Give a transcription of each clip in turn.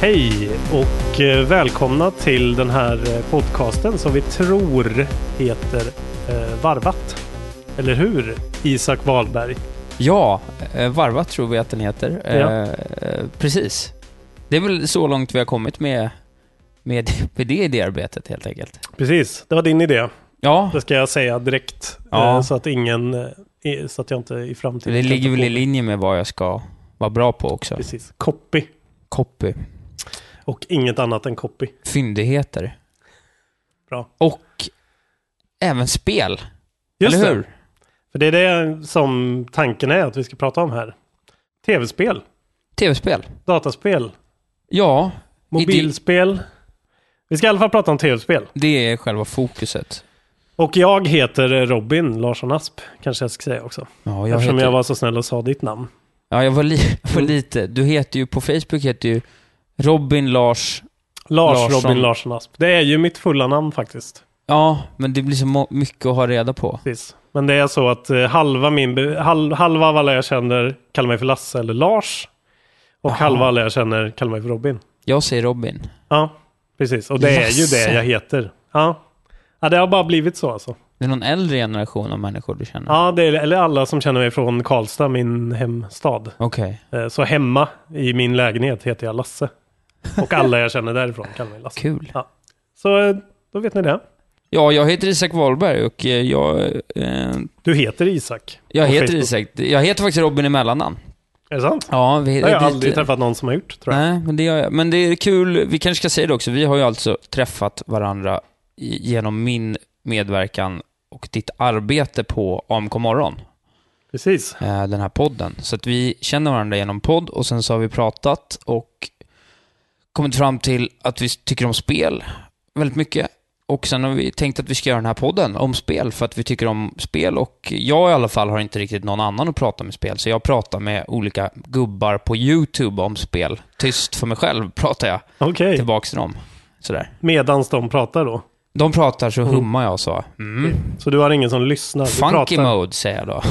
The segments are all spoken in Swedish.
Hej och eh, välkomna till den här eh, podcasten som vi tror heter eh, Varvat. Eller hur, Isak Wahlberg? Ja, eh, Varva tror vi att den heter. Eh, Ja. eh, Precis. Det är väl så långt vi har kommit med, med, med det idéarbetet helt enkelt. Precis, det var din idé. Ja, Det ska jag säga direkt. Ja. eh, Så att ingen... eh, i- Så att jag inte i framtiden... det kan ligger ta väl på- i linje med vad jag ska vara bra på också. Precis. Copy. Copy. Och inget annat än copy. Fyndigheter. Bra. Och även spel, Just eller det. hur? För det är det som tanken är att vi ska prata om här. Tv-spel, Tv-spel. dataspel, Ja, mobilspel. Vi ska i alla fall prata om tv-spel. det är själva fokuset. Och jag heter Robin Larsson Asp, kanske jag ska säga också. Ja, jag, Eftersom heter, jag var Mm. så snäll och sa ditt namn. ja, jag var, li, var lite... Du heter ju... På Facebook heter ju Robin Lars Lars Larsson. Robin Larsson Asp. Det är ju mitt fulla namn faktiskt. Ja, men det blir så må- mycket att ha reda på. Precis. Men det är så att eh, halva, min, be- hal, halva av alla jag känner kallar mig för Lasse eller Lars. Och Aha. halva alla jag känner kallar mig för Robin. Jag säger Robin. Ja, precis. Och det är ju Lasse. det jag heter. Ja. ja, det har bara blivit så alltså. Det är någon äldre generation av människor du känner? Ja, det är, eller alla som känner mig från Karlstad, min hemstad. Okej. Eh, Så hemma i min lägenhet heter jag Lasse. Och alla jag känner därifrån kallar mig Lasse. Kul. Så eh, då vet ni det. Ja, jag heter Isak Wahlberg och eh, jag... Eh, Du heter Isak. jag på heter Facebook. Isak. Jag heter faktiskt Robin i mellannamn. Är det sant? Ja, vi Det har jag det- aldrig träffat någon som har gjort, tror jag. Nej, men det gör jag. Men det är kul, vi kanske ska säga det också, vi har ju alltså träffat varandra i- genom min medverkan och ditt arbete på AMK Morgon, Precis. eh, den här podden. Så att vi känner varandra genom podd och sen så har vi pratat och kommit fram till att vi tycker om spel väldigt mycket. Och sen har vi tänkt att vi ska göra den här podden om spel för att vi tycker om spel och jag i alla fall har inte riktigt någon annan att prata med spel så jag pratar med olika gubbar på YouTube om spel. Tyst för mig själv pratar jag Okej. tillbaks till dem. Sådär. Medans de pratar då. De pratar så hummar jag så. Mm. Så du har ingen som lyssnar. Du Funky pratar. mode säger jag då.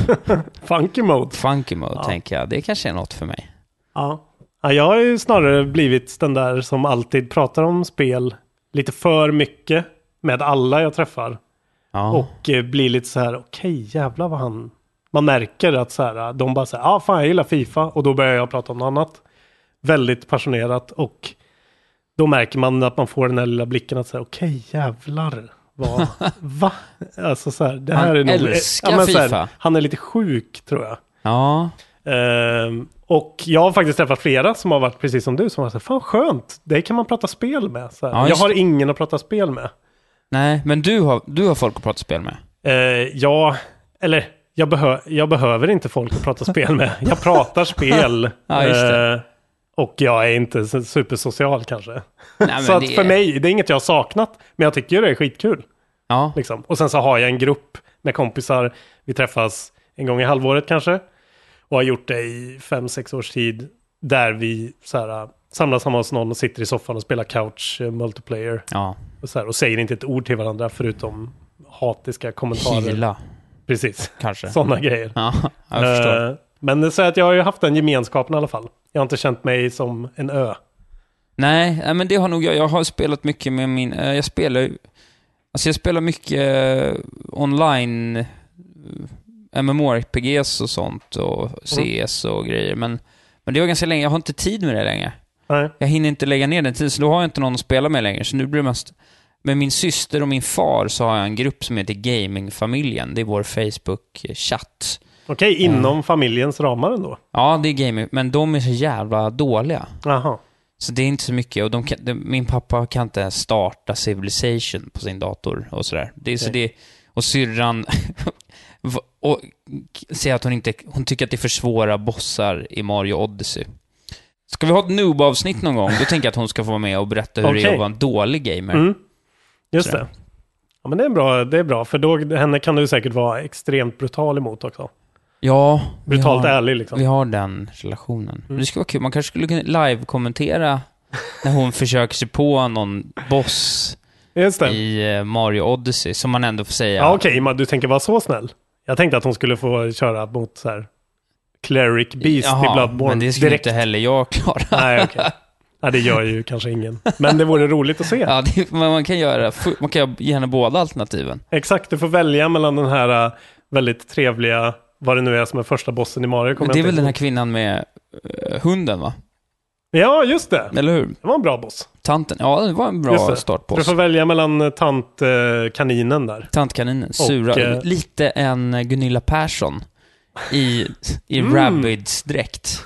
Funky mode. Funky mode tänker jag. Det kanske är något för mig. Ja. ja. Jag har ju snarare blivit den där som alltid pratar om spel lite för mycket med alla jag träffar. Ja. Och eh, blir lite så här, okej jävlar vad han... Man märker att så här, de bara säger, ah fan jag gillar Fifa och då börjar jag prata om något annat. Väldigt passionerat och då märker man att man får den där lilla blicken att säga, okej jävlar. Vad, va? Alltså så här, det här Han är nog... älskar men så här, Fifa. Han är lite sjuk tror jag. ja. Ehm, och jag har faktiskt träffat flera som har varit precis som du, som har sagt, fan skönt, det kan man prata spel med. Så här. Ja, jag just har det. ingen att prata spel med. Nej, men du har, du har folk att prata spel med. Eh, ja, eller jag, behö jag behöver inte folk att prata spel med. Jag pratar spel. Ja, just det. Eh, Och jag är inte så- supersocial kanske. Nej, men så att det för är- mig, det är inget jag har saknat, men jag tycker det är skitkul. Ja, Liksom. Och sen så har jag en grupp med kompisar. Vi träffas en gång i halvåret kanske. Och har gjort det i fem, sex års tid. Där vi så här, äh, samlas hemma hos någon och sitter i soffan och spelar couch eh, multiplayer. ja. Och, så här, och säger inte ett ord till varandra förutom hatiska kommentarer. Kila, Precis, kanske. sådana grejer. Ja, jag förstår. Eh, Men det är så att jag har ju haft den gemenskapen i alla fall. Jag har inte känt mig som en ö. Nej, nej, men det har nog jag. Jag har spelat mycket med min... eh, Jag spelar ju... Alltså jag spelar mycket eh, online eh, MMORPGs och sånt och Mm. CS och grejer. Men, men det var ganska länge. Jag har inte tid med det längre. Nej. Jag hinner inte lägga ner den tiden, så då har jag inte någon att spela med längre. Så nu blir det mest... Med min syster och min far så har jag en grupp som heter Gamingfamiljen. Det är vår Facebook-chatt. Okej, Mm. inom familjens ramar ändå. Ja, det är gaming, men de är så jävla dåliga. Jaha. Så det är inte så mycket. Och de kan, de, min pappa kan inte ens starta Civilization på sin dator och sådär. Det, är så Okej. det, och syrran va- och, k- säger att hon, inte, hon tycker att det är för svåra bossar i Mario Odyssey. Ska vi ha ett noob-avsnitt någon gång? Då tänker jag att hon ska få vara med och berätta hur det är Okej. att vara en dålig gamer. Mm. Just Så. det. Ja, men det är bra, det är bra för då, henne kan du säkert vara extremt brutal emot också. Ja, vi Brutalt har, ärlig liksom. Mm. vi har den relationen. Men Det skulle vara kul. Man kanske skulle kunna live-kommentera när hon försöker sig på någon boss Just det. i eh, Mario Odyssey, som man ändå får säga. Ja, okej, men du tänker vara så snäll. Jag tänkte att hon skulle få köra mot så här Cleric Beast i Bloodborne men det skulle direkt. inte heller jag klara. Nej, okej. Nej, det gör ju kanske ingen. Men det vore roligt att se. Ja, det, men man kan göra, fu- man kan ge henne båda alternativen. Exakt, du får välja mellan den här äh, väldigt trevliga, vad det nu är som är första bossen i Mario. kommer det är jag väl inte den här ihåg. kvinnan med eh, hunden va? Ja, just det. Eller hur? Det var en bra boss. Tanten. Ja, det var en Just bra det. Du startboss. får välja mellan eh, tant eh, kaninen där. Tantkaninen, sura. eh, Lite en Gunilla Persson i, i Mm. Rabbids dräkt.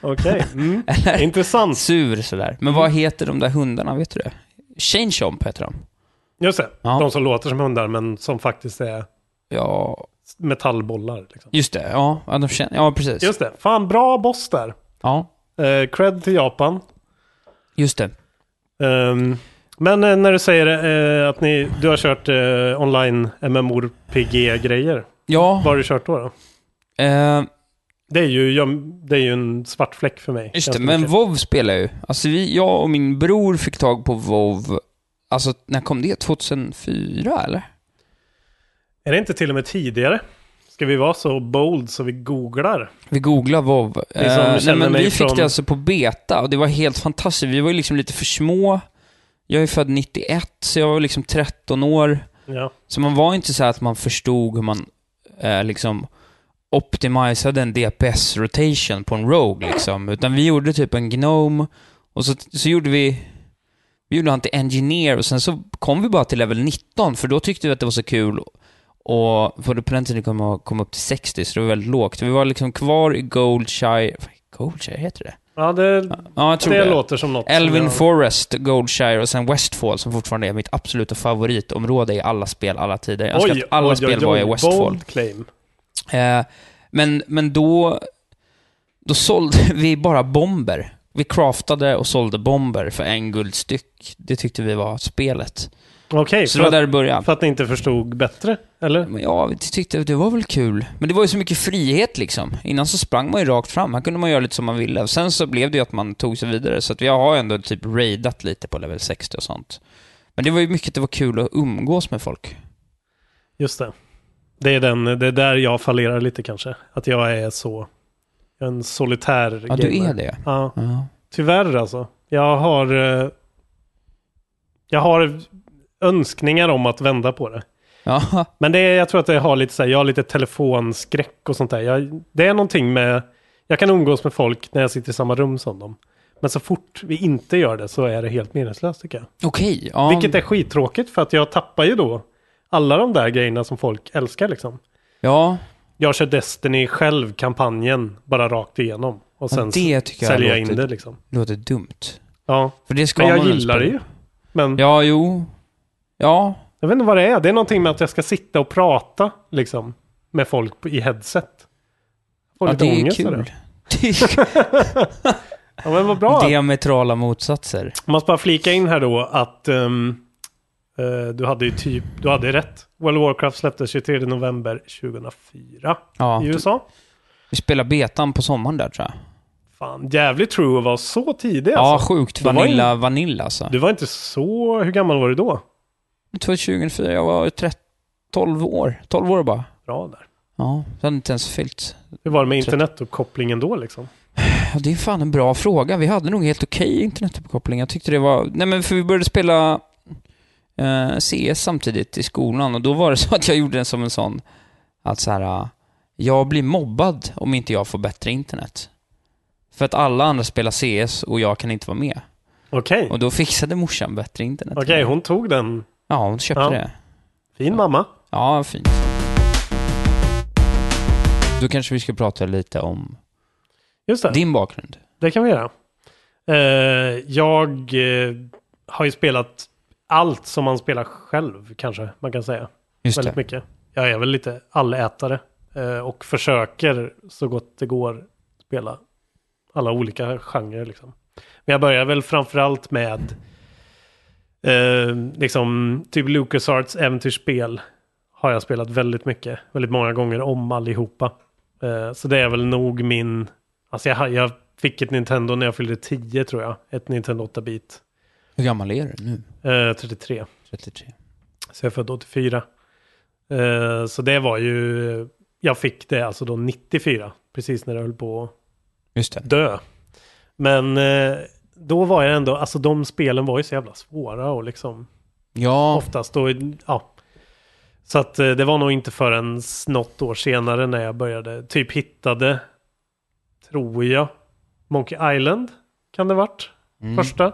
Okej, mm. intressant. Sur sådär. Men Mm. vad heter de där hundarna, vet du det? Shane Chomp heter de. Just det, Ja. de som låter som hundar men som faktiskt är Ja, metallbollar. Liksom. just det. Ja, ja, de känner, ja precis. Just det, fan bra boss där. Ja, Eh, cred till Japan. just det. Ehm, men eh, när du säger eh, att ni, du har kört eh, online MMORPG-grejer, Ja, vad har du kört då? då? eh, Det är ju, jag, det är ju en svart fläck för mig. Just det, ganska men mycket. WoW spelar jag ju. Alltså vi, jag och min bror fick tag på WoW. Alltså när kom det? 2004 eller? Är det inte till och med tidigare? Ska vi vara så bold så vi googlar? Vi googlar WoW. är som Eh, nej, känner men mig vi fick från- det alltså på beta och det var helt fantastiskt. Vi var ju liksom lite för små. Jag är född 91, så jag var liksom 13 år. Ja. Så man var inte så här att man förstod hur man eh, liksom optimiserade en DPS-rotation på en Rogue liksom. Utan vi gjorde typ en Gnome och så, så gjorde vi... Vi gjorde han till Engineer och sen så kom vi bara till level 19 för då tyckte vi att det var så kul. Och för på den tiden kom jag kom upp till 60 så det var väldigt lågt. Vi var liksom kvar i Goldshire... Goldshire, heter det Ja, det, Ja, jag tror det det. låter som något. som Elvin jag- Forest, Goldshire och sen Westfall som fortfarande är mitt absoluta favoritområde i alla spel, alla tider. Jag önskar att alla spel var i Westfall. Bold claim. Eh, men, men då, då sålde vi bara bomber. Vi craftade och sålde bomber för en guld styck. Det tyckte vi var spelet. Okej, Så det var för, där att- det började. för att ni inte förstod bättre, eller? Men ja, vi tyckte att det var väl kul. Men det var ju så mycket frihet liksom. Innan så sprang man ju rakt fram. Här kunde man göra lite som man ville. Sen så blev det ju att man tog sig vidare. Så att vi har ändå typ raidat lite på level 60 och sånt. Men det var ju mycket att det var kul att umgås med folk. Just det. Det är, den, det är där jag fallerar lite kanske. Att jag är så... Jag är en solitär Ja, du gamer. är det. Ja, Ja. tyvärr alltså. Jag har... eh, Jag har önskningar om att vända på det. ja. Men det är, jag tror att det har lite så här, jag har lite telefonskräck och sånt där. Jag, det är någonting med, jag kan umgås med folk när jag sitter i samma rum som dem. Men så fort vi inte gör det så är det helt meningslöst tycker jag. Okej. ja. Vilket är skittråkigt för att jag tappar ju då alla de där grejerna som folk älskar liksom. Ja. Jag kör Destiny själv, kampanjen, bara rakt igenom. Och Ja, sen det tycker jag säljer jag in låter- det liksom. Låter dumt. Ja, För det ska men jag man väl gillar det spela. ju. Men Ja, jo. Ja. jag vet inte vad det är. Det är någonting med att jag ska sitta och prata liksom med folk på- i headset. Får ja lite det är ångest av kul. Tysk. Ja, men vad bra. Diametrala motsatser. Man ska bara flika in här då att ehm, eh, du hade ju typ, du hade rätt. World of Warcraft släpptes 23 november 2004 Ja. i USA. Vi spelar betan på sommaren där tror jag. Fan, jävligt true att vara så tidig Ja, alltså. sjukt. det var Vanilla, vanilla alltså. Du var inte så, hur gammal var du då? Det var 2004, jag var 13, 12 år. 12 år bara. Bra där. Ja, det hade inte ens fyllt. Hur var det med internetuppkopplingen då liksom? Ja, det är fan en bra fråga. Vi hade nog helt okej internetuppkoppling. Jag tyckte det var... Nej men för vi började spela eh, CS samtidigt i skolan och då var det så att jag gjorde den som en sån... Att så här, eh, jag blir mobbad om inte jag får bättre internet. För att alla andra spelar CS och jag kan inte vara med. Okej, Och då fixade morsan bättre internet. okej hon tog den. Ja, hon köpte Ja. det. Fin mamma. Ja, fint. Då kanske vi ska prata lite om Just det. din bakgrund. Det kan vi göra. Eh, jag eh, har ju spelat allt som man spelar själv kanske man kan säga. Just väldigt det. mycket. Jag är väl lite allätare eh, och försöker så gott det går spela alla olika genrer. Liksom. Men jag börjar väl framförallt med eh, liksom, typ LucasArts äventyrsspel har jag spelat väldigt mycket, väldigt många gånger om allihopa. Eh, så det är väl nog min, alltså jag, har- jag fick ett Nintendo när jag fyllde 10 tror jag, ett Nintendo 8-bit, Hur gammal är du nu? eh, 33. 33. Så jag är född 84. Eh, så det var ju, jag fick det alltså då 94, precis när jag höll på att Just det. dö. Men eh, då var jag ändå, alltså de spelen var ju så jävla svåra och liksom Ja, oftast då, ja. Så att eh, det var nog inte förrän något år senare när jag började, typ hittade, tror jag, Monkey Island kan det varit. Mm. Första.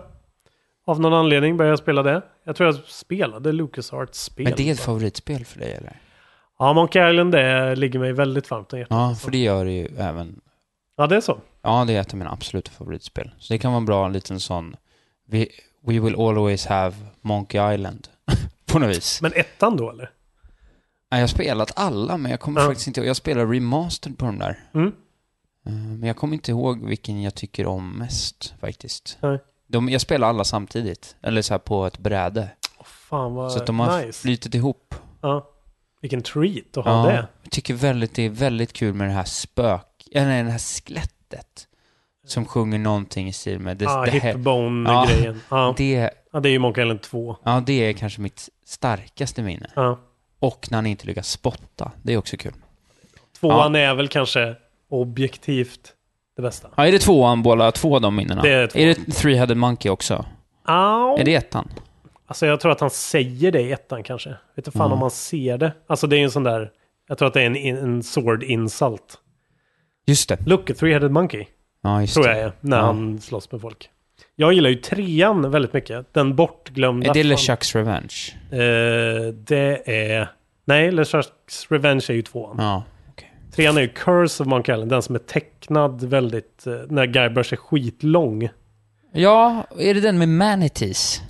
Av någon anledning började jag spela det. Jag tror jag spelade LucasArts spel. men det är ett favoritspel för dig eller? Ja, Monkey Island det ligger mig väldigt varmt om hjärtat. Ja, för det gör det ju även... Ja, det är så. Ja, det är ett av mina absoluta favoritspel. Så det kan vara en bra liten sån... We, we will always have Monkey Island. På något vis. Men ettan då eller? Ja, jag har spelat alla, men jag kommer Ja. faktiskt inte ihåg. Jag spelar remastered på de där. Mm. Eh, Men jag kommer inte ihåg vilken jag tycker om mest faktiskt. Nej. De, jag spelar alla samtidigt, eller så här på ett bräde. Åh, fan vad så att de har Eh, nice. flytit ihop. ja. Vilken treat att ha det. Jag tycker väldigt, det är väldigt kul med det här spök... Eller nej, det här skelettet. Som sjunger någonting i stil med... Det, ah, det, här, Ja. Hipbone-grejen. Ja. det, Ja, det är ju Monkey Island 2. ja, det är kanske mitt starkaste minne. Ja. Och när han inte lyckas spotta. Det är också kul. Tvåan är väl kanske objektivt det bästa. Ja, är det tvåan, båda två av de minnena? Det är tvåan. är det Three-Headed Monkey också? Au. Är det ettan? Alltså jag tror att han säger det i ettan kanske. Vet du fan Mm. om man ser det. Alltså det är ju en sån där, jag tror att det är en, en sword insult. Just det. Look, a three-headed monkey. Ja, just Tror det. jag är, när Ja. han slåss med folk. Jag gillar ju trean väldigt mycket. Den bortglömda. Är det fan- LeChucks Revenge? Eh, det är... Nej, LeChucks Revenge är ju tvåan. Ja. Trean är ju Curse of Monkey Island, den som är tecknad väldigt... eh, när Guybrush är skitlång. Ja, är det den med Manatees?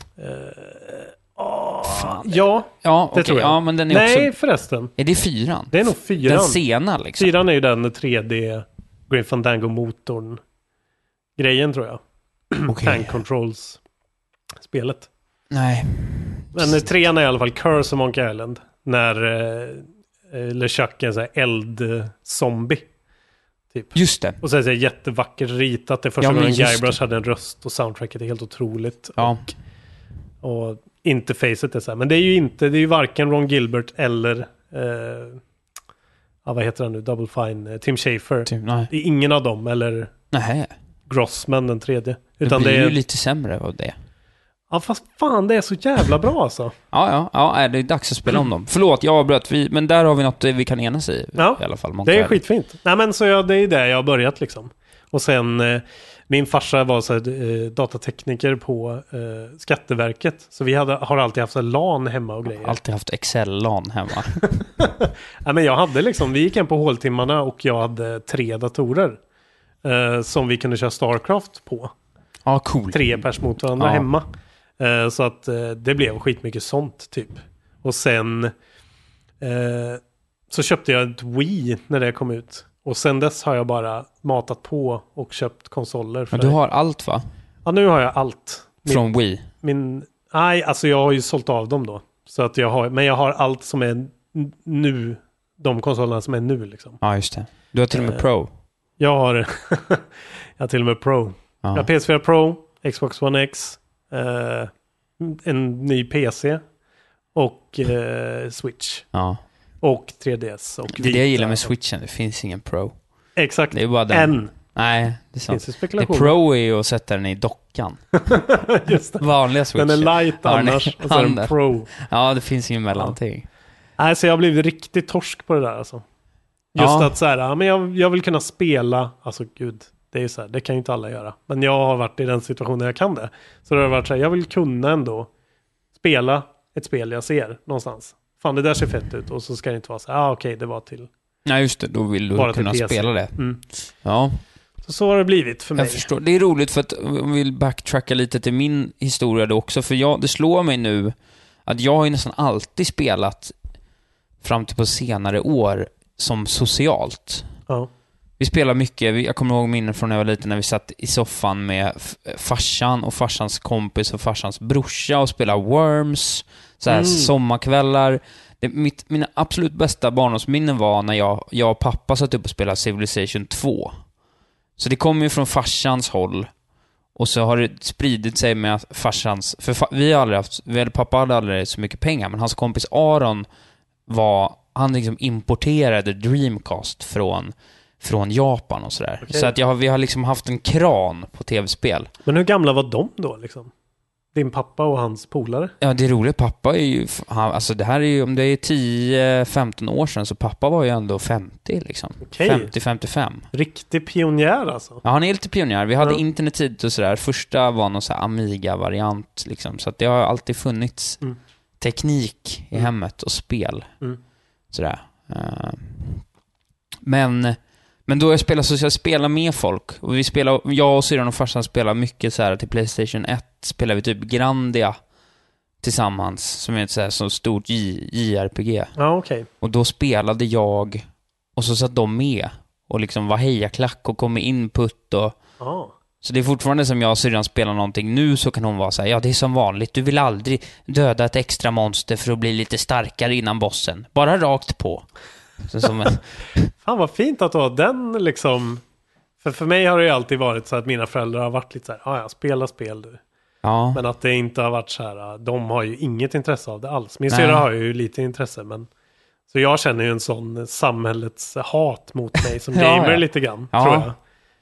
Ja, Ja, det okej. tror jag. Ja, men den är nej, också... förresten. Är det fyran? Det är nog fyran. Den sena liksom? Fyran är ju den 3D Green Fandango-motorn. Grejen tror jag. Okej. Tank Controls-spelet. Nej. Men trean är i alla fall Curse of Monkey Island. När eh, eh, LeChuck är en sån här eldzombie. typ. Just det. Och sen så är det jättevackert ritat. Det är Ja, första men gången just det. Guybrush hade en röst och soundtracket är helt otroligt. Ja. Och interfacet är så här. Men det är ju inte, det är ju varken Ron Gilbert eller, eh, ja, vad heter han nu, Double Fine, eh, Tim Schafer. Typ, nej. Det är ingen av dem, eller Nej. Grossman den tredje. Det Utan blir det ju är, lite sämre av det. ja fast fan det är så jävla bra alltså. Ja, ja, ja, nej, det är dags att spela om dem. Förlåt, jag avbröt. Vi, men där har vi något eh, vi kan enas i. Ja, I alla fall. Det är Montreal. skitfint. Nej men så jag, det är där jag har börjat liksom. Och sen, eh, min farsa var så här, eh, datatekniker på eh, Skatteverket. Så vi hade, har alltid haft så här LAN hemma och grejer. Alltid haft Excel-LAN hemma. Ja, men jag hade liksom, vi gick hem på håltimmarna och jag hade tre datorer. Eh, som vi kunde köra Starcraft på. Ja, cool. Tre pers mot varandra Ja. hemma. Eh, så att eh, det blev skitmycket sånt typ. Och sen eh, så köpte jag ett Wii när det kom ut. Och sen dess har jag bara matat på och köpt konsoler för Men du dig. har allt va? Ja, nu har jag allt. Min, Från Wii? min... Nej, alltså jag har ju sålt av dem då. Så att jag har... Men jag har allt som är n- nu. De konsolerna som är nu liksom. Ja, just det. Du har till och med Eh, Pro? Jag har... jag har till och med Pro. Ja. Jag har PS4 Pro, Xbox One X, eh, en ny PC och eh, Switch. ja. Och 3DS. Och Det är det jag gillar med Vita. switchen, det finns ingen Pro. Exakt. Det är bara den. en. Nej, det är sant. Finns det Det spekulation? Pro är ju att sätta den i dockan. Just det. Vanliga switchen. Den är light Ja, den är- annars och så är Ja, den- den pro. Ja, det finns ingen mellanting. Nej, så jag har blivit riktigt torsk på det där alltså. Just Ja. att så här, ja, men jag, jag vill kunna spela, alltså gud, det är ju så här, det kan ju inte alla göra. Men jag har varit i den situationen jag kan det. Så det har varit så här, jag vill kunna ändå spela ett spel jag ser någonstans. Fan, det där ser fett ut och så ska det inte vara så här, ah, okej, det var till. Nej, just det. Då vill du Bara till kunna PC. spela det. Mm. Ja, Så, så har det blivit för mig. jag förstår. Det är roligt för att om vi vill backtracka lite till min historia då också. För jag, det slår mig nu att jag har ju nästan alltid spelat fram till på senare år som socialt. Ja. Vi spelar mycket. Vi- Jag kommer ihåg minnen från när jag var liten när vi satt i soffan med f- farsan och farsans kompis och farsans brorsa och spelade Worms. Så här Mm. sommarkvällar. Det, mitt, mina absolut bästa barndomsminnen var när jag, jag och pappa satt upp och spelade Civilization 2. Så det kommer ju från farsans håll. Och så har det spridit sig med att farsans... För fa, vi har aldrig haft... Vi, eller pappa hade aldrig så mycket pengar, men hans kompis Aron var... Han liksom importerade Dreamcast från, från Japan och sådär. Okej. Så att jag, har- vi har liksom haft en kran på tv-spel. Men hur gamla var de då liksom? Din pappa och hans polare? Ja, det roliga, pappa är ju... Han, alltså det här är ju... Om det är 10-15 år sedan, så pappa var ju ändå 50 liksom. Okej. 50-55. Riktig pionjär alltså. Ja, han är lite pionjär. Vi hade Ja. internet tidigt och sådär. Första var någon så här Amiga-variant liksom. Så att det har alltid funnits Mm. teknik i Mm. hemmet och spel. Mm. Sådär. Eh, Men, men då jag spelar så jag spelar med folk. Och vi spelar, jag och syrran och farsan spelar mycket så här till Playstation 1. Spelar vi typ Grandia tillsammans. Som är ett så här så stort J- JRPG. Ja, okej. Och då spelade jag och så satt de med och liksom var hejaklack och kom med input och Ja. så det är fortfarande som jag och syrran spelar någonting nu så kan hon vara så här, ja det är som vanligt, du vill aldrig döda ett extra monster för att bli lite starkare innan bossen. Bara rakt på. Så som en, Fan vad fint att du har den liksom. För, för mig har det ju alltid varit så att mina föräldrar har varit lite så här, "Ah, ja, jag spelar spel du. ja. Men att det inte har varit så här, "Ah, de har ju inget intresse av det alls. Min Nej. syrra har ju lite intresse, men. Så jag känner ju en sån samhällets hat mot mig som Ja, gamer ja. lite grann, Ja. tror jag.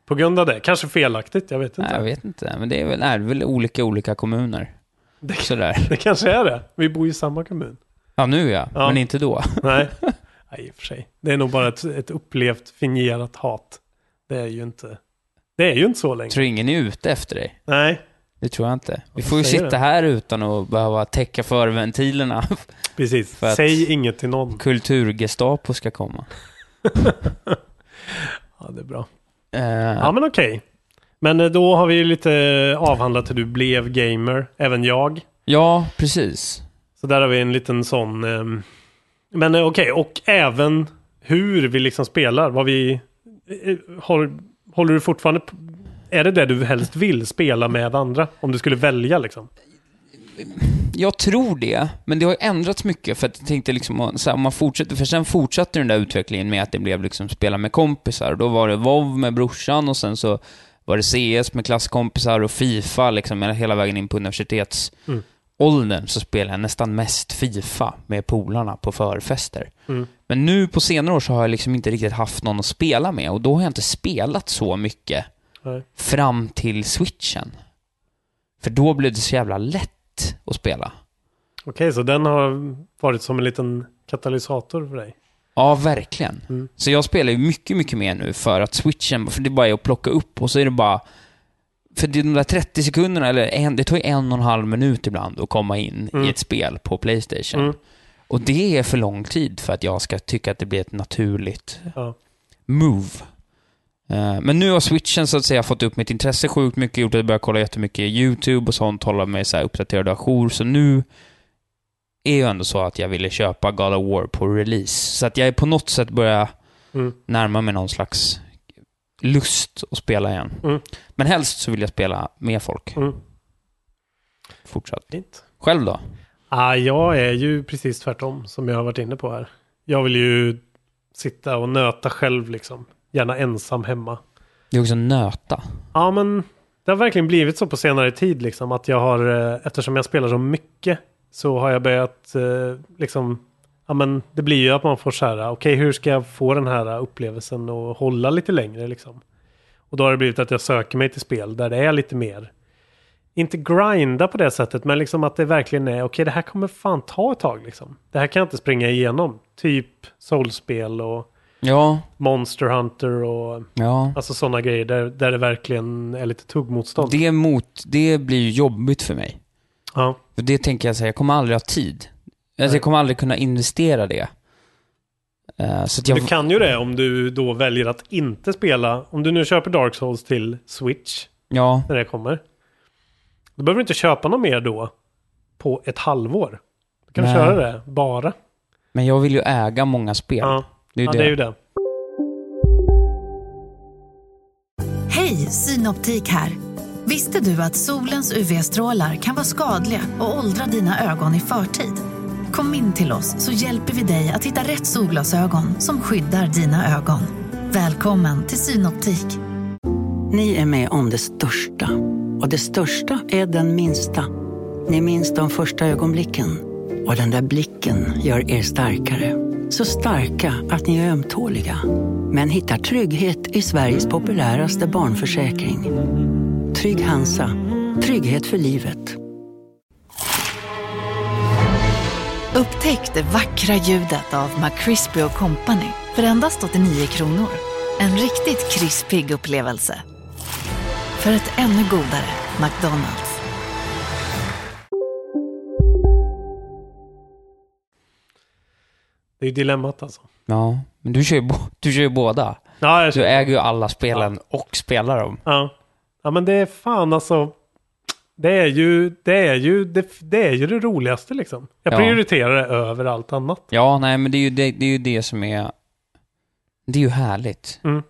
På grund av det. Kanske felaktigt, jag vet inte. Nej, jag vet inte, men det är väl, är väl olika olika kommuner. Det, Sådär. det kanske är det. Vi bor ju i samma kommun. Ja, nu ja, Ja. men inte då. Nej, Nej i och för sig. Det är nog bara ett, ett upplevt, fingerat hat. Det är ju inte, det är ju inte så länge. Jag tror ingen är ute efter dig. Nej, Det tror jag inte. Vi Varför får ju säger sitta du? här utan att behöva täcka för ventilerna. precis. För att- Säg inget till någon. Kulturgestapo ska komma. Ja, det är bra. Eh, Ja, men okej. Men eh, då har vi ju lite eh, avhandlat hur du blev gamer, även jag. ja, precis. Så där har vi en liten sån. ehm, Men eh, okej, och även hur vi liksom spelar. Vad vi... eh, Har, håller du fortfarande... p- Är det det du helst vill spela med andra? Om du skulle välja liksom? Jag tror det, men det har ju ändrats mycket för att jag tänkte liksom, så här, om man fortsätter, för sen fortsatte den där utvecklingen med att det blev liksom spela med kompisar. Då var det WoW med brorsan och sen så var det CS med klasskompisar och Fifa liksom hela- hela vägen in på universitetsåldern så spelade jag nästan mest Fifa med polarna på förfester. Men nu på senare år så har jag liksom inte riktigt haft någon att spela med och då har jag inte spelat så mycket Nej. fram till switchen. För då blev det så jävla lätt att spela. Okej, så den har varit som en liten katalysator för dig? Ja, verkligen. Mm. Så jag spelar ju mycket, mycket mer nu för att switchen, för det bara är att plocka upp och så är det bara... För det är de där 30 sekunderna, eller en, det tar ju en och en halv minut ibland att komma in Mm. i ett spel på Playstation. Mm. Och det är för lång tid för att jag ska tycka att det blir ett naturligt Ja. move. Eh, Men nu har switchen så att säga fått upp mitt intresse sjukt mycket, gjort att jag börjar kolla jättemycket YouTube och sånt, hålla mig så här uppdaterad och ajour. Så nu är ju ändå så att jag ville köpa God of War på release. Så att jag är på något sätt börjar Mm. närma mig någon slags lust att spela igen. Mm. Men helst så vill jag spela med folk Mm. fortsatt. Fint. Själv då? Ah, jag är ju precis tvärtom som jag har varit inne på här. Jag vill ju sitta och nöta själv liksom. Gärna ensam hemma. Det är också nöta. Ja men det har verkligen blivit så på senare tid liksom att jag har eh, eftersom jag spelar så mycket så har jag börjat eh, liksom ja men det blir ju att man får så här eh, okej hur ska jag få den här eh, upplevelsen och hålla lite längre liksom. Och då har det blivit att jag söker mig till spel där det är lite mer inte grinda på det sättet men liksom att det verkligen är okej det här kommer fan ta ett tag liksom. Det här kan jag inte springa igenom. Typ soulspel och Ja, Monster Hunter och ja. Alltså sådana grejer där, där det verkligen är lite tuggmotstånd. Det, är mot, det blir ju jobbigt för mig. Ja. För det tänker jag säga, jag kommer aldrig ha tid. Alltså, Nej. jag kommer aldrig kunna investera det. Eh, så att jag... Du kan ju det om du då väljer att inte spela. Om du nu köper Dark Souls till Switch Ja, när det kommer. Då behöver du inte köpa något mer då på ett halvår. Du kan Nej. köra det bara. men jag vill ju äga många spel. Ja, Det är ju ja det. det är ju det. Hej, Synoptik här. Visste du att solens UV-strålar kan vara skadliga och åldra dina ögon i förtid? Kom in till oss så hjälper vi dig att hitta rätt solglasögon som skyddar dina ögon. Välkommen till Synoptik. Ni är med om det största. Och det största är den minsta. Ni minns de första ögonblicken. Och den där blicken gör er starkare. Så starka att ni är ömtåliga. Men hittar trygghet i Sveriges populäraste barnförsäkring. Trygg Hansa. Trygghet för livet. Upptäck det vackra ljudet av McCrispy Company för endast 89 kronor. En riktigt krispig upplevelse. För ett ännu godare McDonalds. Det är ju dilemmat alltså. Ja, men du kör ju, bo- du kör ju båda. Ja, jag Du köper. äger ju alla spelen och spelar dem. Ja. ja, men det är fan alltså. Det är ju det, är ju, det, det, är ju det roligaste liksom. Jag Ja. prioriterar det över allt annat. Ja, nej, men det är ju det, det, är ju det som är... Det är ju härligt. Mm.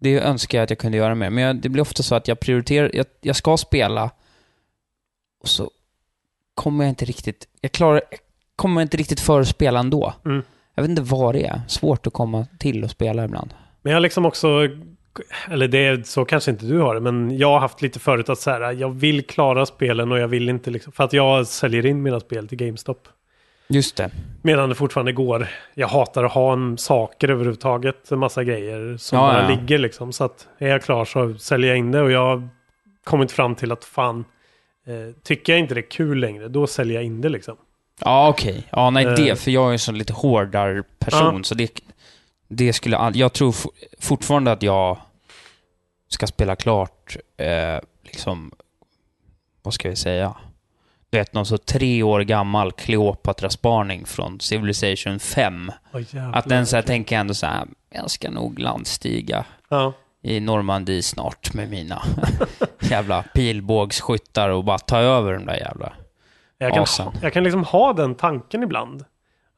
Det önskar jag att jag kunde göra mer, men jag, det blir ofta så att jag prioriterar... Jag, jag ska spela och så kommer jag inte riktigt... Jag klarar... Jag kommer inte riktigt före spela ändå. Mm. Jag vet inte vad det är. Svårt att komma till och spela ibland. Men jag har liksom också, eller det är så kanske inte du har det, men jag har haft lite förut att så här, jag vill klara spelen och jag vill inte liksom, för att jag säljer in mina spel till GameStop. Just det. Medan det fortfarande går, jag hatar att ha en saker överhuvudtaget, en massa grejer som Ja, bara ja. ligger liksom. Så att är jag klar så säljer jag in det och jag har kommit fram till att fan, eh, tycker jag inte det är kul längre, då säljer jag in det liksom. Ja, okej. Ja, nej, Eh. det, för jag är en sån lite hårdare person, så det, det skulle all, Jag tror for, fortfarande att jag ska spela klart, eh, liksom, vad ska vi säga? Du vet, någon så tre år gammal Kleopatra-spaning från Civilization 5. Åh, jävlar. Att den så här tänker jag ändå så här, jag ska nog landstiga ja. i Normandie snart med mina jävla pilbågsskyttar och bara ta över de där jävla... Jag kan, Asen. jag kan liksom ha den tanken ibland.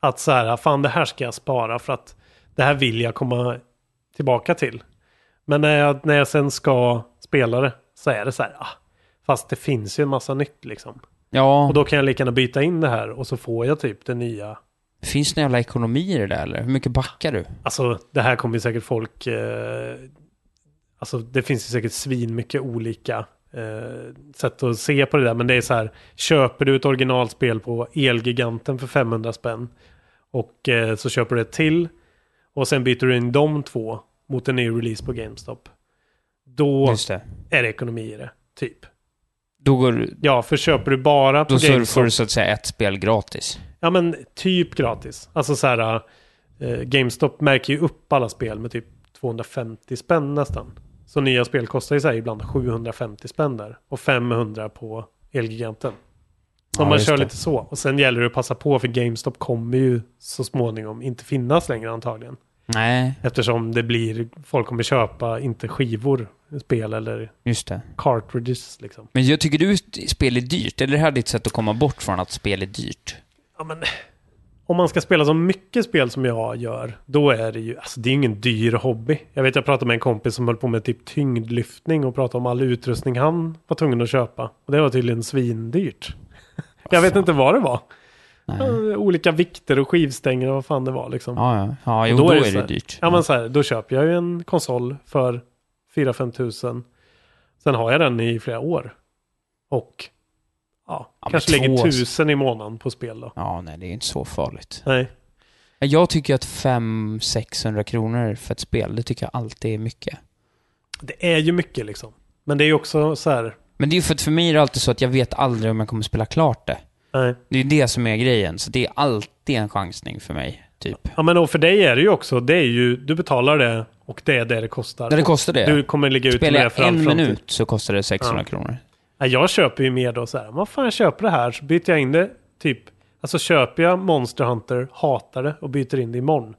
Att så här, fan det här ska jag spara för att det här vill jag komma tillbaka till. Men när jag, när jag sen ska spela det så är det så här, ah, fast det finns ju en massa nytt liksom. Ja. Och då kan jag lika gärna byta in det här och så får jag typ det nya. Finns det någon jävla ekonomi i det där eller? Hur mycket backar du? Alltså det här kommer ju säkert folk, eh, alltså det finns ju säkert svin mycket olika eh, sätt att se på det där. Men det är så här, köper du ett originalspel på Elgiganten för 500 spänn och eh, så köper du ett till och sen byter du in de två mot en ny release på GameStop. Då Just det. är det ekonomi i det, typ. Då, går, du- Ja, för köper du bara på då så GameStop. får du så att säga ett spel gratis. Ja men typ gratis. Alltså så här, eh, GameStop märker ju upp alla spel med typ 250 spänn nästan. Så nya spel kostar ju så här ibland 750 spänn där. Och 500 på Elgiganten. Så Ja, man just kör det. lite så. Och sen gäller det att passa på för GameStop kommer ju så småningom inte finnas längre antagligen. Nej, Eftersom det blir, folk kommer köpa inte skivor, spel eller just det. cartridges liksom. Men jag tycker du spel är dyrt? Eller är det här ditt sätt att komma bort från att spel är dyrt? Ja men om man ska spela så mycket spel som jag gör, då är det ju, alltså det är ingen dyr hobby. Jag vet jag pratade med en kompis som höll på med typ tyngdlyftning och pratade om all utrustning han var tvungen att köpa. Och det var tydligen svindyrt. jag vet inte vad det var. Ja, Olika vikter och skivstänger och vad fan det var liksom. Ja, ja. ja Och jo, då, är det, så här- dyrt. Ja men så här, då köper jag ju en konsol för 4-5 tusen. Sen har jag den i flera år. Och ja, men kanske två- lägger tusen i månaden på spel då. Ja, nej, det är inte så farligt. Nej. Jag tycker att 500-600 kronor för ett spel, det tycker jag alltid är mycket. Det är ju mycket liksom. Men det är ju också så här, Men det är ju för att för mig är det alltid så att jag vet aldrig om jag kommer spela klart det. nej. Det är ju det som är grejen, så det är alltid en chansning för mig, typ. Ja men och för dig är det ju också, det är ju, du betalar det och det är det det kostar. När det kostar det. Du kommer ligga ut med Spelar det jag för all en framtid. minut så kostar det 600 kronor. Nej, jag köper ju mer då så här, vad fan jag köper det här så byter jag in det typ, alltså köper jag Monster Hunter, hatar det och byter in det imorgon.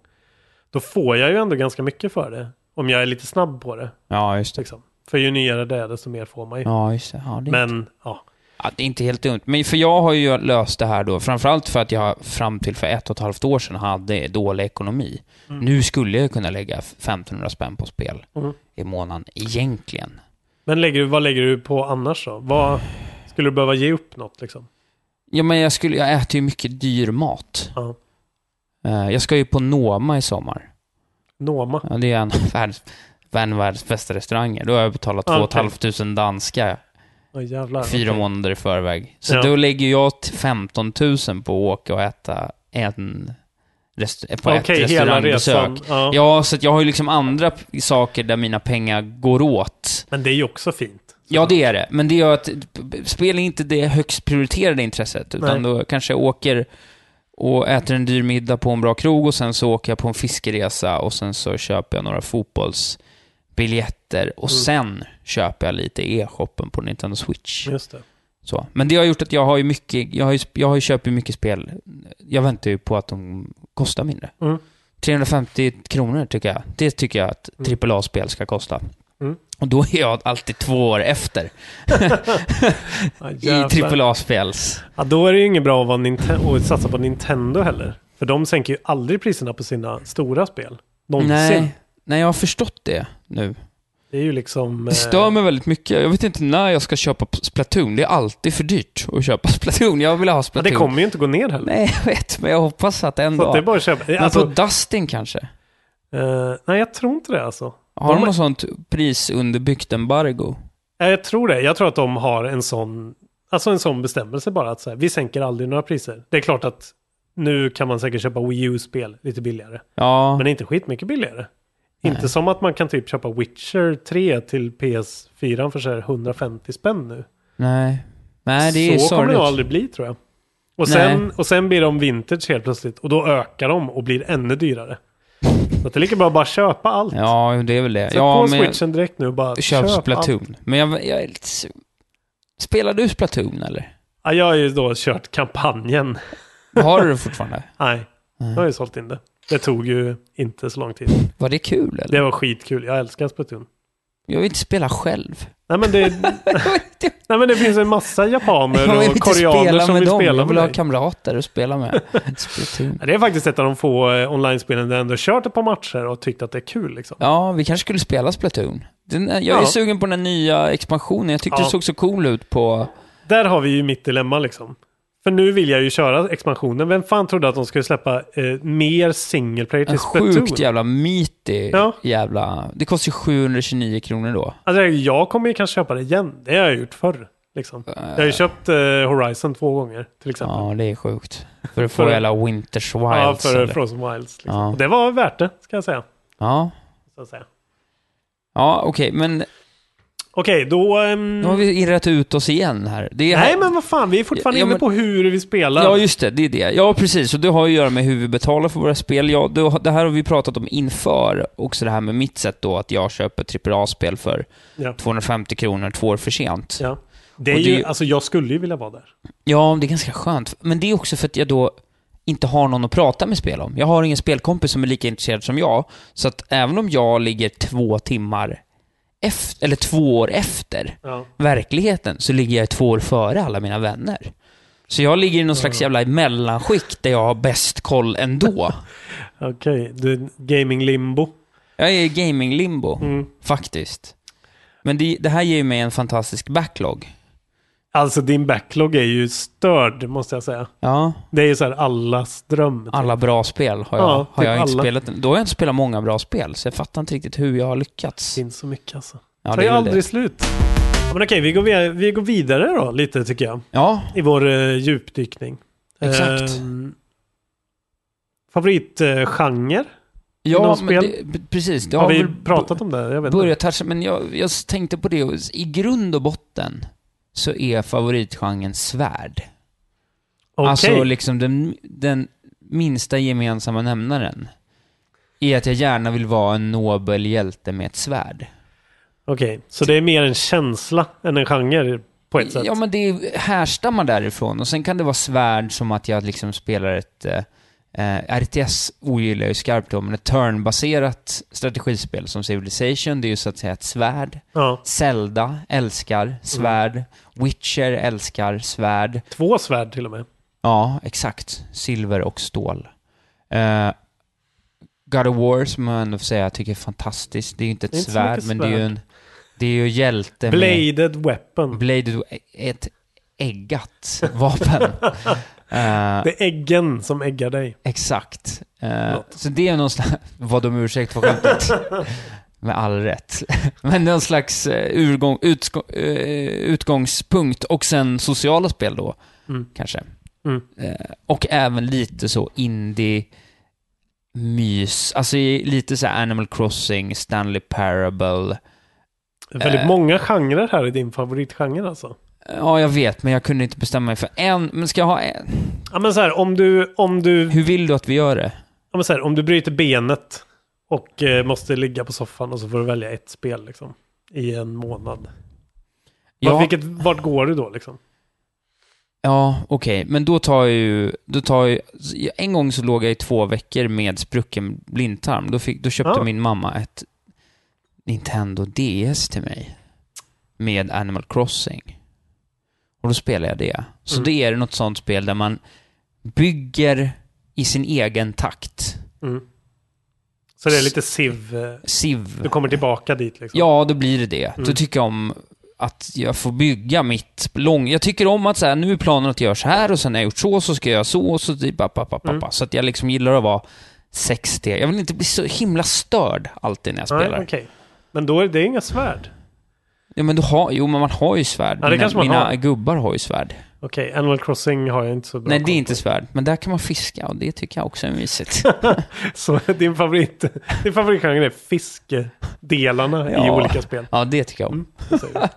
Då får jag ju ändå ganska mycket för det. Om jag är lite snabb på det. Ja, just det. Liksom. För ju nyare det är desto mer får man ju. Ja, just det. Ja, det är Men ja, Ja, det är inte helt dumt. Men för jag har ju löst det här då, framförallt för att jag fram till för ett och ett halvt år sedan hade dålig ekonomi. Nu skulle jag kunna lägga 1500 spänn på spel Mm. i månaden, egentligen. men lägger du, vad lägger du på annars då? Vad skulle du behöva ge upp något liksom? Ja, men jag, skulle, jag äter ju mycket dyr mat. Ja. Eh, Jag ska ju på Noma i sommar. Noma. Ja, det är en av världens, en av världens bästa restauranger. Då har jag betalat Ja, 2 okej. 500 danska Åh jävlar. fyra Okej. månader i förväg. Så Ja. då lägger jag t- 15 000 på att åka och äta en rest- på Okej, ett hela restaurangbesök. resan. Ja. Ja, så att jag har ju liksom andra p- saker där mina pengar går åt. Men det är ju också fint. Ja, det är det. Men det gör att p- p- spel är inte det högst prioriterade intresset. Utan Nej. då kanske jag åker och äter en dyr middag på en bra krog och sen så åker jag på en fiskeresa och sen så köper jag några fotbollsbiljetter och Mm. sen köper jag lite e-shoppen på Nintendo Switch. Just det. Så. Men det har gjort att jag har ju mycket, jag har ju, jag har ju köpt ju mycket spel. Jag väntar ju på att de kostar mindre. Mm. 350 kronor tycker jag. Det tycker jag att AAA-spel ska kosta. Mm. Och då är jag alltid två år efter Ja, i jävlar. AAA-spels. Ja, då är det ju inget bra att, vara Ninten- att satsa på Nintendo heller. För de sänker ju aldrig priserna på sina stora spel. Någonsin. Nej, nej, jag har förstått det nu. Det är ju liksom... Det stör mig väldigt mycket. Jag vet inte när jag ska köpa Splatoon. Det är alltid för dyrt att köpa Splatoon. Jag vill ha ja, Splatoon. det kommer ju inte gå ner heller. Nej, jag vet, men jag hoppas att en Så att dag. det är bara att köpa. Men Alltså, på Dustin kanske? eh, nej, jag tror inte det alltså. Har de De- något sånt prisunderbyggt embargo? Nej, jag tror det. Jag tror att de har en sån, alltså en sån bestämmelse bara. att så här, Vi sänker aldrig några priser. Det är klart att nu kan man säkert köpa Wii U-spel lite billigare. Ja, Men inte skitmycket billigare. Inte som att man kan typ köpa Witcher 3 till PS4 för så här 150 spänn nu. nej. Nej, det är så kommer det nog sorgligt. aldrig bli tror jag. Och Nej. sen, och sen blir de vintage helt plötsligt och då ökar de och blir ännu dyrare. Så att det är lika bra att bara köpa allt. Ja, jo, det är väl det. Sätt Ja, på men jag switchen direkt nu och bara köp allt. Splatoon. Men jag, jag är lite... su- Spelar du Splatoon eller? Ja, jag har ju då kört kampanjen. Har du det fortfarande? Nej, jag har ju sålt in det. Det tog ju inte så lång tid. Var det kul eller? Det var skitkul, jag älskar Splatoon. Jag vill inte spela själv. Nej men det, nej, men det finns en massa japaner Jag vill och inte koreaner spela som med vill dem. spela med Jag vill ha dig. kamrater att spela med. Splatoon. Ja, Det är faktiskt ett av de få eh, online-spelen där jag ändå kört ett par matcher och tyckt att det är kul liksom. Ja, vi kanske skulle spela Splatoon. Den, eh, jag är Ja. sugen på den här nya expansionen. Jag tyckte Ja. det såg så cool ut på... Där har vi ju mitt dilemma liksom. För nu vill jag ju köra expansionen. Vem fan trodde att de skulle släppa eh, mer single player En till Splatoon? sjukt jävla mitig Ja. jävla... Det kostar ju 729 kronor då. Alltså, jag kommer ju kanske köpa det igen. Det har jag gjort förr. Liksom. Jag har ju köpt eh, Horizon två gånger till exempel. Ja, det är sjukt. För att få För- hela Winters Wilds. Ja, för eller? Frozen Wilds. Liksom. Ja. Och det var värt det, ska jag säga. Ja, Så att säga. ja okej, men Okej, då... ehm, nu har vi irrat ut oss igen här. Det är Nej, men vad fan. Vi är fortfarande Ja, inne men- på hur vi spelar. Ja, just det. Det är det. Ja, precis. Och det har ju att göra med hur vi betalar för våra spel. Ja, det, det här har vi pratat om inför. Också det här med mitt sätt då, att jag köper AAA-spel för Ja. 250 kronor två år för sent. Ja. Det är Och det- ju, alltså jag skulle ju vilja vara där. Ja, det är ganska skönt. Men det är också för att jag då inte har någon att prata med spel om. Jag har ingen spelkompis som är lika intresserad som jag. Så att även om jag ligger två timmar efter, eller två år efter Ja. verkligheten, så ligger jag två år före alla mina vänner. Så jag ligger i någon slags jävla mellanskikt där jag har bäst koll ändå. Okej, det är gaming limbo. Mm. Jag är i gaming-limbo, faktiskt. Men det, det här ger ju mig en fantastisk backlog. Alltså din backlog är ju störd måste jag säga. Ja, Det är ju så här allas dröm. typ. alla bra spel har jag, Ja, har typ jag inte alla. spelat. Då har jag inte spelat många bra spel, så jag fattar inte riktigt hur jag har lyckats. Det finns så mycket alltså. Ja, Tar det ju är väl aldrig det. slut. Ja, men okej, vi går, vi, vi går vidare då lite tycker jag. Ja, I vår eh, djupdykning. Exakt. Ehm, Favoritgenre? ja Något men spel? det, b- precis. Det har, vi väl pratat om det? Jag vet börjat toucha, men jag, jag tänkte på det. och I grund och botten så är favoritgenren svärd. inte. Alltså Okej. liksom den, den minsta gemensamma nämnaren är att jag gärna vill vara en nobel hjälte med ett svärd. Okej, så det är mer en känsla än en genre på ett sätt? Ja, men det är- härstammar därifrån. Och sen kan det vara svärd som att jag liksom spelar ett... Eh, eh, RTS ogillar jag ju skarpt då, men ett turnbaserat strategispel som Civilization, det är ju så att säga ett svärd. Ja. Zelda älskar svärd. Mm. Witcher älskar svärd. Två svärd till och med. Ja, exakt. Silver och stål. Eh, God of War, som jag ändå får säga jag tycker är fantastiskt. Det är ju inte ett Det är inte så svärd, mycket men det är ju svärd. en... Det är ju hjälte med... Bladed Weapon. Blade. Ett äggat vapen. Eh, Det är äggen som äggar dig. exakt. Eh, Förlåt. så det är någon slags... Vad om ursäkt för skämtet. med all rätt. men någon slags eh, urgång, utgå- eh, utgångspunkt. Och sen sociala spel då, Mm. kanske. Mm. Eh, och även lite så indie mys, alltså i- lite så här Animal Crossing, Stanley Parable. Väldigt Eh. många genrer här i din favoritgenre alltså. Ja, jag vet, men jag kunde inte bestämma mig för en. Men ska jag ha en? Ja men så här, om du, om du, Hur vill du att vi gör det? ja, men så här, om du bryter benet och eh, måste ligga på soffan och så får du välja ett spel liksom. I en månad. Vart, Ja, vilket, vart går du då liksom? ja okej, men då tar jag ju... Då tar jag, en gång så låg jag i två veckor med sprucken blindtarm. Då, fick, då köpte Ja. min mamma ett Nintendo DS till mig. Med Animal Crossing. Och då spelade jag det. Så Mm. det är något sånt spel där man bygger i sin egen takt. Mm. Så det är lite siv, eh, Civ. du kommer tillbaka dit liksom. Ja, då blir det det. Då Mm. tycker jag om att jag får bygga mitt lång... Jag tycker om att så här, nu är planen att jag gör så här och sen när jag gjort så, så ska jag göra så och så typ app, app, app, app, Mm. app. Så att jag liksom gillar att vara 60. Jag vill inte bli så himla störd alltid när jag Nej, spelar. okej. Men då är det inga svärd. Ja, men du har... Jo, men man har ju svärd. Ja, det mina kanske man mina har. gubbar har ju svärd. Okej, Animal Crossing har jag inte så bra Nej, det koll är på. inte svärd. Men där kan man fiska och det tycker jag också är mysigt. Så din favorit, din favoritgenre är fiskedelarna i Ja. olika spel. ja, det tycker jag om. det säger vi.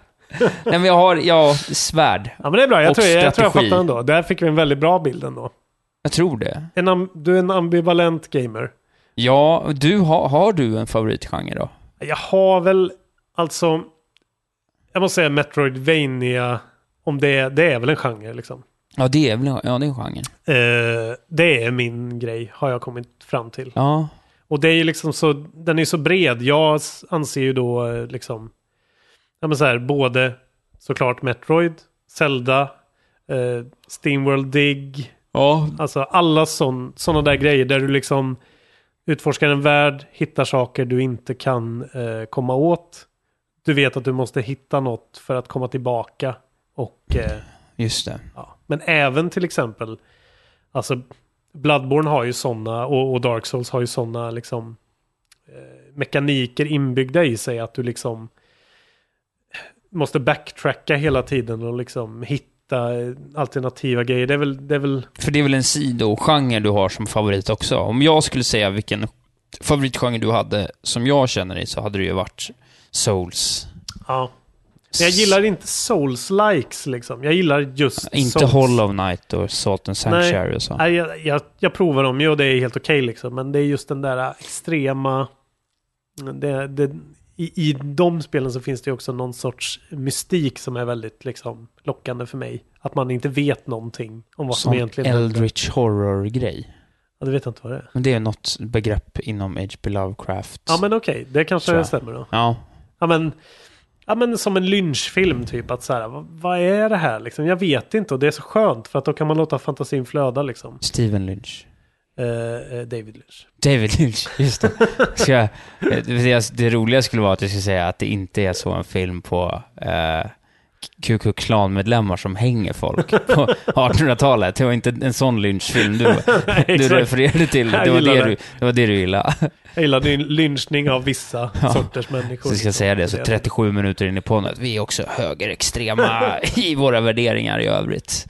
Nej, men jag har... Ja, svärd. Ja men det är bra, jag Och tror jag, jag, tror jag strategi. fattar ändå. Där fick vi en väldigt bra bild ändå. Jag tror det. En am, du är en ambivalent gamer. Ja, du har... Har du en favoritgenre då? Jag har väl, alltså, jag måste säga Metroidvania, om det, är- det är väl en genre liksom. Ja, det är väl... Ja, det är genren. Eh, det är min grej, har jag kommit fram till. Ja. Och det är ju liksom så, den är ju så bred. Jag s- anser ju då eh, liksom, ja men så här, både såklart Metroid, Zelda, eh, Steamworld Dig, Ja, alltså alla sådana där grejer där du liksom utforskar en värld, hittar saker du inte kan eh, komma åt. Du vet att du måste hitta något för att komma tillbaka. Och, eh, just det. ja. Men även till exempel, alltså Bloodborne har ju sådana och, och Dark Souls har ju sådana liksom eh, mekaniker inbyggda i sig att du liksom måste backtracka hela tiden och liksom hitta eh, alternativa grejer. Det är väl, det är väl För det är väl en sidogenre du har som favorit också? Om jag skulle säga vilken favoritgenre du hade som jag känner dig så hade det ju varit Souls. Ja. Men jag gillar inte souls-likes liksom. Jag gillar just Inte souls. Hollow Knight och Salt and Sanctuary och så. Nej, jag, jag, jag provar dem ju och det är helt okej liksom. Men det är just den där extrema... Det, det, i, I de spelen så finns det ju också någon sorts mystik som är väldigt liksom, lockande för mig. Att man inte vet någonting om vad som Som egentligen händer. Eldritch Horror-grej. Ja, det vet jag inte vad det är. Men det är något begrepp inom H.P. Lovecraft. Ja, men okej. Det kanske Tror jag. stämmer då. Ja. Ja, men... ja, men som en lynchfilm typ. Att så här, vad, vad är det här liksom? Jag vet inte och det är så skönt för att då kan man låta fantasin flöda liksom. Steven Lynch. Eh, eh, David Lynch. David Lynch, just det. Ska jag, det, det roliga skulle vara att jag skulle säga att det inte är så en film på eh, Ku Klux Klan-medlemmar som hänger folk på 1800-talet. Det var inte en sån lynchfilm du, Nej, du exakt. refererade till. Jag Det var gillar det, det. du, det var det du gillade. Jag gillar din lynchning av vissa Ja. sorters människor. Så ska jag säga det, så 37 minuter in i podden, att vi är också högerextrema i våra värderingar i övrigt.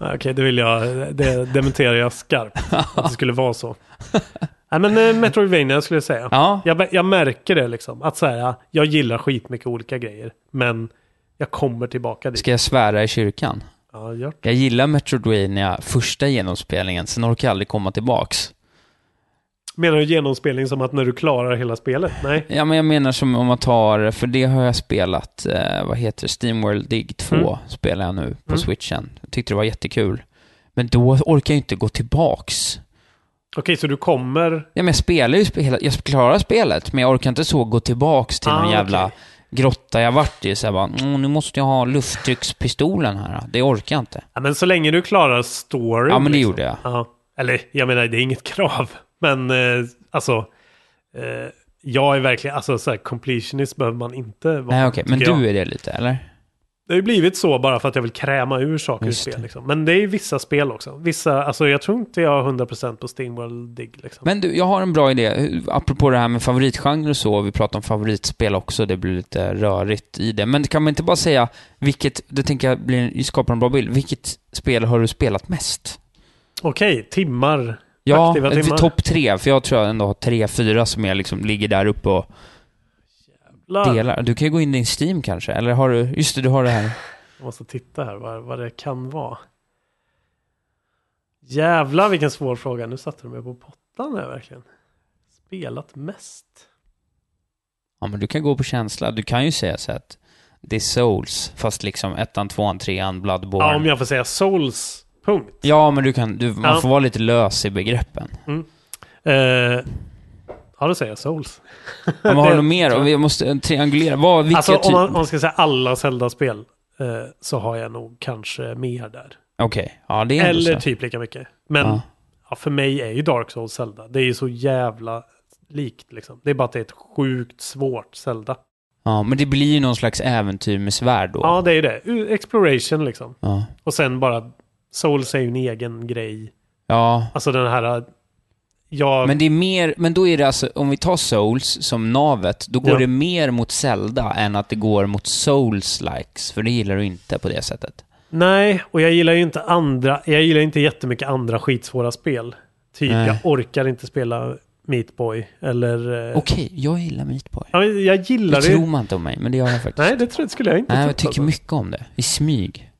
Ja, Okej, det vill jag, det dementerar jag skarpt. Att det skulle vara så. Nej men eh, Metroidvania skulle jag säga. Ja. Jag, jag märker det liksom. Att så här, jag gillar skitmycket olika grejer. Men jag kommer tillbaka dit. Ska jag svära i kyrkan? Ja, gör Jag gillar Metroidvania första genomspelningen, sen orkar jag aldrig komma tillbaks. Menar du genomspelning som att när du klarar hela spelet? Nej. Ja, men jag menar som om man tar, för det har jag spelat, eh, vad heter det, Steamworld Dig 2 Mm. spelar jag nu på Mm. switchen. Jag tyckte det var jättekul. Men då orkar jag inte gå tillbaks. Okej, så du kommer... Ja, men jag spelar ju, spe- hela, jag klarar spelet, men jag orkar inte så gå tillbaks till någon Ah, jävla okej. grotta jag vart i. Så jag bara, mm, nu måste jag ha lufttryckspistolen här. Det orkar jag inte. Ja, men så länge du klarar storyn. Ja, men det liksom. gjorde jag. Ja. Eller, jag menar, det är inget krav. Men eh, alltså, eh, jag är verkligen... Alltså, så här, completionist behöver man inte vara. Nej, okej. Men tycker jag. du är det lite, eller? Det har ju blivit så bara för att jag vill kräma ur saker ur Just spel. det. Liksom. Men det är ju vissa spel också. Vissa, alltså jag tror inte jag har 100% på Steamworld Dig. Liksom. Men du, jag har en bra idé. Hur- Apropå det här med favoritgenre och så, vi pratar om favoritspel också, det blir lite rörigt i det. Men kan man inte bara säga, vilket, det tänker jag blir, skapar en bra bild, vilket spel har du spelat mest? Okej, timmar. Ja, Aktiva eh, timmar. topp tre, för jag tror jag ändå har tre, fyra som jag liksom ligger där uppe och La- delar. Du kan ju gå in i din Steam kanske, eller har du, just det, du har det här. Jag måste titta här vad, vad det kan vara. Jävlar vilken svår fråga. Nu satte du mig på pottan här verkligen. Spelat mest. Ja, men du kan gå på känsla. Du kan ju säga så att det är Souls, fast liksom ettan, tvåan, trean, Bloodborne. Ja, om jag får säga Souls. Punkt. Ja, men du kan, du, man Ja. får vara lite lös i begreppen. Eh, ja, då säger jag Souls. Ja, men har Det- du något mer? Och Vi måste eh, triangulera. Vad, vilka Alltså om typ... man, om man ska säga alla Zelda-spel eh, så har jag nog kanske mer där. Okej, ja det är ändå Eller så. typ lika mycket. Men Ja. ja. för mig är ju Dark Souls Zelda. Det är ju så jävla likt liksom. Det är bara att det är ett sjukt svårt Zelda. Ja, men det blir ju någon slags äventyr med svärd då. Ja, det är ju det. U- Exploration liksom. Ja. Och sen bara Souls är ju en egen grej. ja. Alltså den här... eh, Jag, Men det är mer, men då är det alltså, om vi tar Souls som navet, då går Ja. det mer mot Zelda än att det går mot Souls-likes, för det gillar du inte på det sättet. Nej, och jag gillar ju inte andra... Jag gillar inte jättemycket andra skitsvåra spel. Typ, Nej. jag orkar inte spela Meat Boy eller... eh, Okej, jag gillar Meat Boy. Ja, men jag gillar Det det. tror man inte om mig, men det gör jag faktiskt. Nej, det tror, skulle jag inte Nej, jag trott, tycker alltså. mycket om det. I smyg.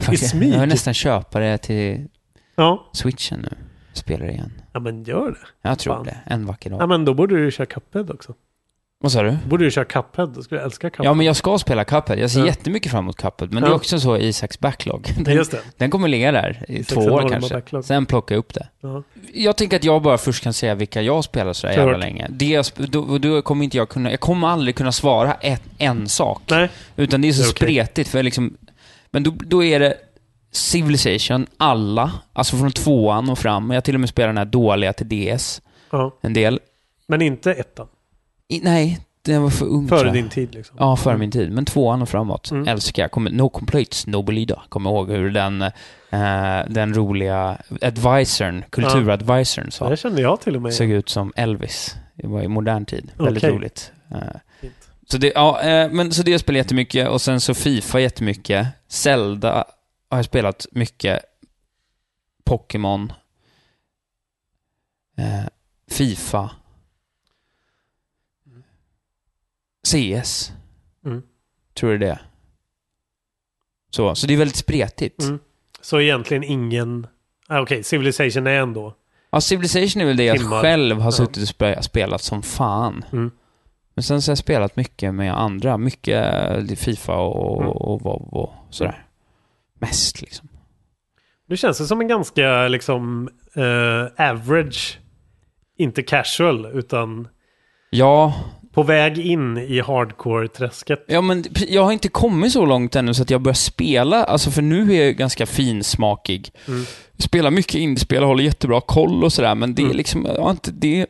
Faktiskt. smyg? Jag vill nästan köpa det till Ja. switchen nu. Spelar det igen. ja, men gör det. Jag tror Fan. det. En vacker dag. Ja, men då borde du ju köra Cuphead också. Vad sa du? Då borde du köra Cuphead. Då skulle jag älska Cuphead. Ja, men jag ska spela Cuphead. Jag ser Ja. jättemycket fram emot Cuphead. Men det är Ja. också så i Isaks backlog. Den, Just det. den kommer ligga där i Isaks två år enorma kanske. backlog. Sen plockar jag upp det. Ja. Jag tänker att jag bara först kan säga vilka jag spelar sådär jävla Klart. länge. Det jag, sp- då, då kommer inte jag kunna... Jag kommer aldrig kunna svara ett, en sak. Nej, Utan det är så Det är okej. spretigt, för jag liksom... Men då, då är det Civilization, alla. Alltså från tvåan och fram. Jag till och med spelar den här dåliga till DS, ja. en del. men inte ettan. I, nej, den var för ung Mm, tror Före jag. din tid liksom. Ja, före min tid. Men tvåan och framåt Mm. älskar jag. Kommer, no completes, no belida. Kommer ihåg hur den, eh, den roliga advisorn, kulturadvisorn sa. Det kände jag till och med. Såg ut som Elvis. Det var i modern tid. Okej. Väldigt roligt. Eh, Fint. Så det, ja, eh, men så det spelar jag jättemycket och sen så Fifa jättemycket. Zelda har jag spelat mycket. Pokémon. Eh, Fifa. CS. Mm. Tror du det? Så, så det är väldigt spretigt. Mm. Så egentligen ingen... Ah, Okej, Civilization är ändå... Ja, Civilization är väl det jag Timmar. själv har Ja. suttit och spe- spelat som fan. Mm. Men sen så har jag spelat mycket med andra. Mycket eh, Fifa och, Mm. och WoW och sådär. Mest liksom. Nu känns det som en ganska liksom eh, average, inte casual, utan Ja, På väg in i hardcore-träsket. Ja, men jag har inte kommit så långt ännu så att jag börjar spela, alltså för nu är jag ganska finsmakig. Mm. Spelar mycket indiespel, håller jättebra koll och sådär, men det är Mm. liksom, jag har inte, det,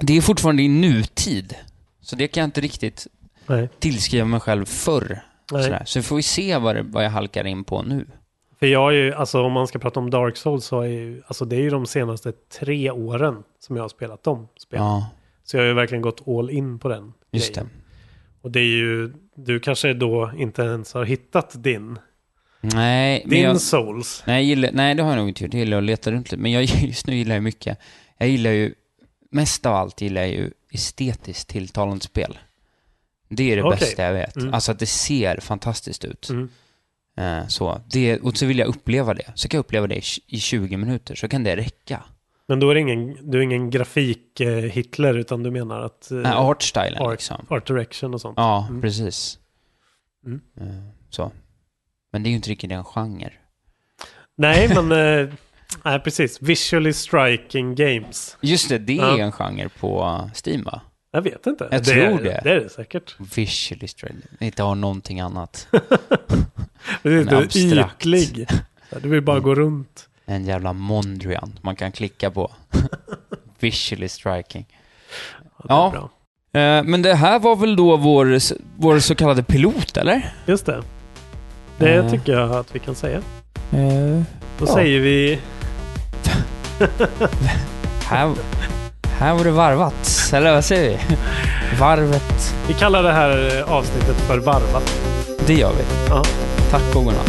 det är fortfarande i nutid. Så det kan jag inte riktigt Nej. tillskriva mig själv förr. Nej. Sådär. Så får vi se vad, det, vad jag halkar in på nu. För jag är ju, alltså om man ska prata om Dark Souls så är ju, alltså det är ju de senaste tre åren som jag har spelat de spelen. Ja, Så jag har ju verkligen gått all in på den. just grejen. det. Och det är ju, du kanske då inte ens har hittat din, Nej, men din jag, Souls. nej, jag gillar, nej, det har jag nog inte gjort. Jag gillar att leta runt lite. Men jag, just nu gillar jag mycket. Jag gillar ju, mest av allt gillar jag ju estetiskt tilltalande spel. Det är det Okej. bästa jag vet. Mm. Alltså att det ser fantastiskt ut. Mm. Eh, så. Det, och så vill jag uppleva det. Så kan jag uppleva det i tj- i 20 minuter, så kan det räcka. Men då är det ingen, du är ingen grafik-Hitler utan du menar att eh, Nej, artstylen art- liksom. art direction och sånt. Ja, Mm. precis. Mm. Eh, Så. Men det är ju inte riktigt en genre. Nej, men eh, nej, precis. Visually striking games. Just det, det Ja. är en genre på Steam va? Jag vet inte. Jag det tror är, det. Det är det säkert. Visually striking. Inte har någonting annat. Du är inte abstrakt. Mm. ytlig. Du vill bara gå runt. En jävla Mondrian man kan klicka på. Visually striking. Ja, det är Ja. bra. Eh, Men det här var väl då vår, vår så kallade pilot, eller? Just det. Det Eh. tycker jag att vi kan säga. Eh, Då Ja. säger vi Här, här var det varvat. Eller vad säger vi? Varvet. Vi kallar det här eh, avsnittet för varvat. Det gör vi. Ja. Tack och godnatt.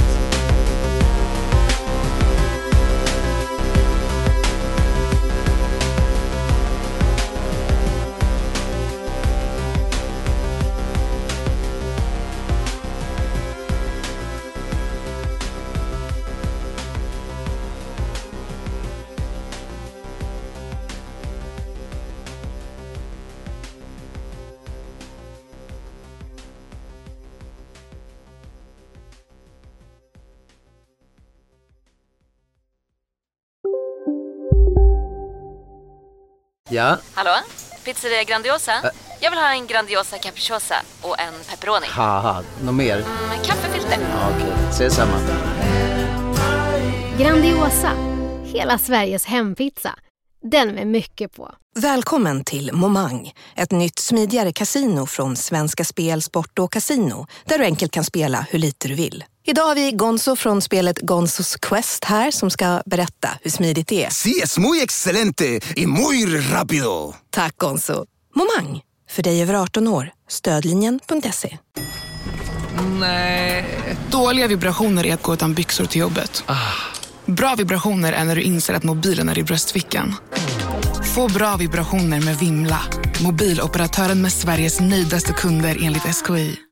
Ja, Hallå? Pizzeria Grandiosa? Jag vill ha en Grandiosa capriciosa och en pepperoni. haha, något mer? Med kaffefilter. Ja, Okej, ses samma. Grandiosa, hela Sveriges hempizza. Den med mycket på. Välkommen till Momang, ett nytt smidigare casino från Svenska Spel, Sport och Casino där du enkelt kan spela hur lite du vill. Idag har vi Gonzo från spelet Gonzos Quest här som ska berätta hur smidigt det är. Sí, es muy excelente y muy rápido. Tack Gonzo! Momang, för dig över 18 år. Stödlinjen.se. Nej. Dåliga vibrationer är att gå utan byxor till jobbet. Bra vibrationer är när du inser att mobilen är i bröstfickan. Få bra vibrationer med Vimla. Mobiloperatören med Sveriges nöjdaste kunder enligt SKI.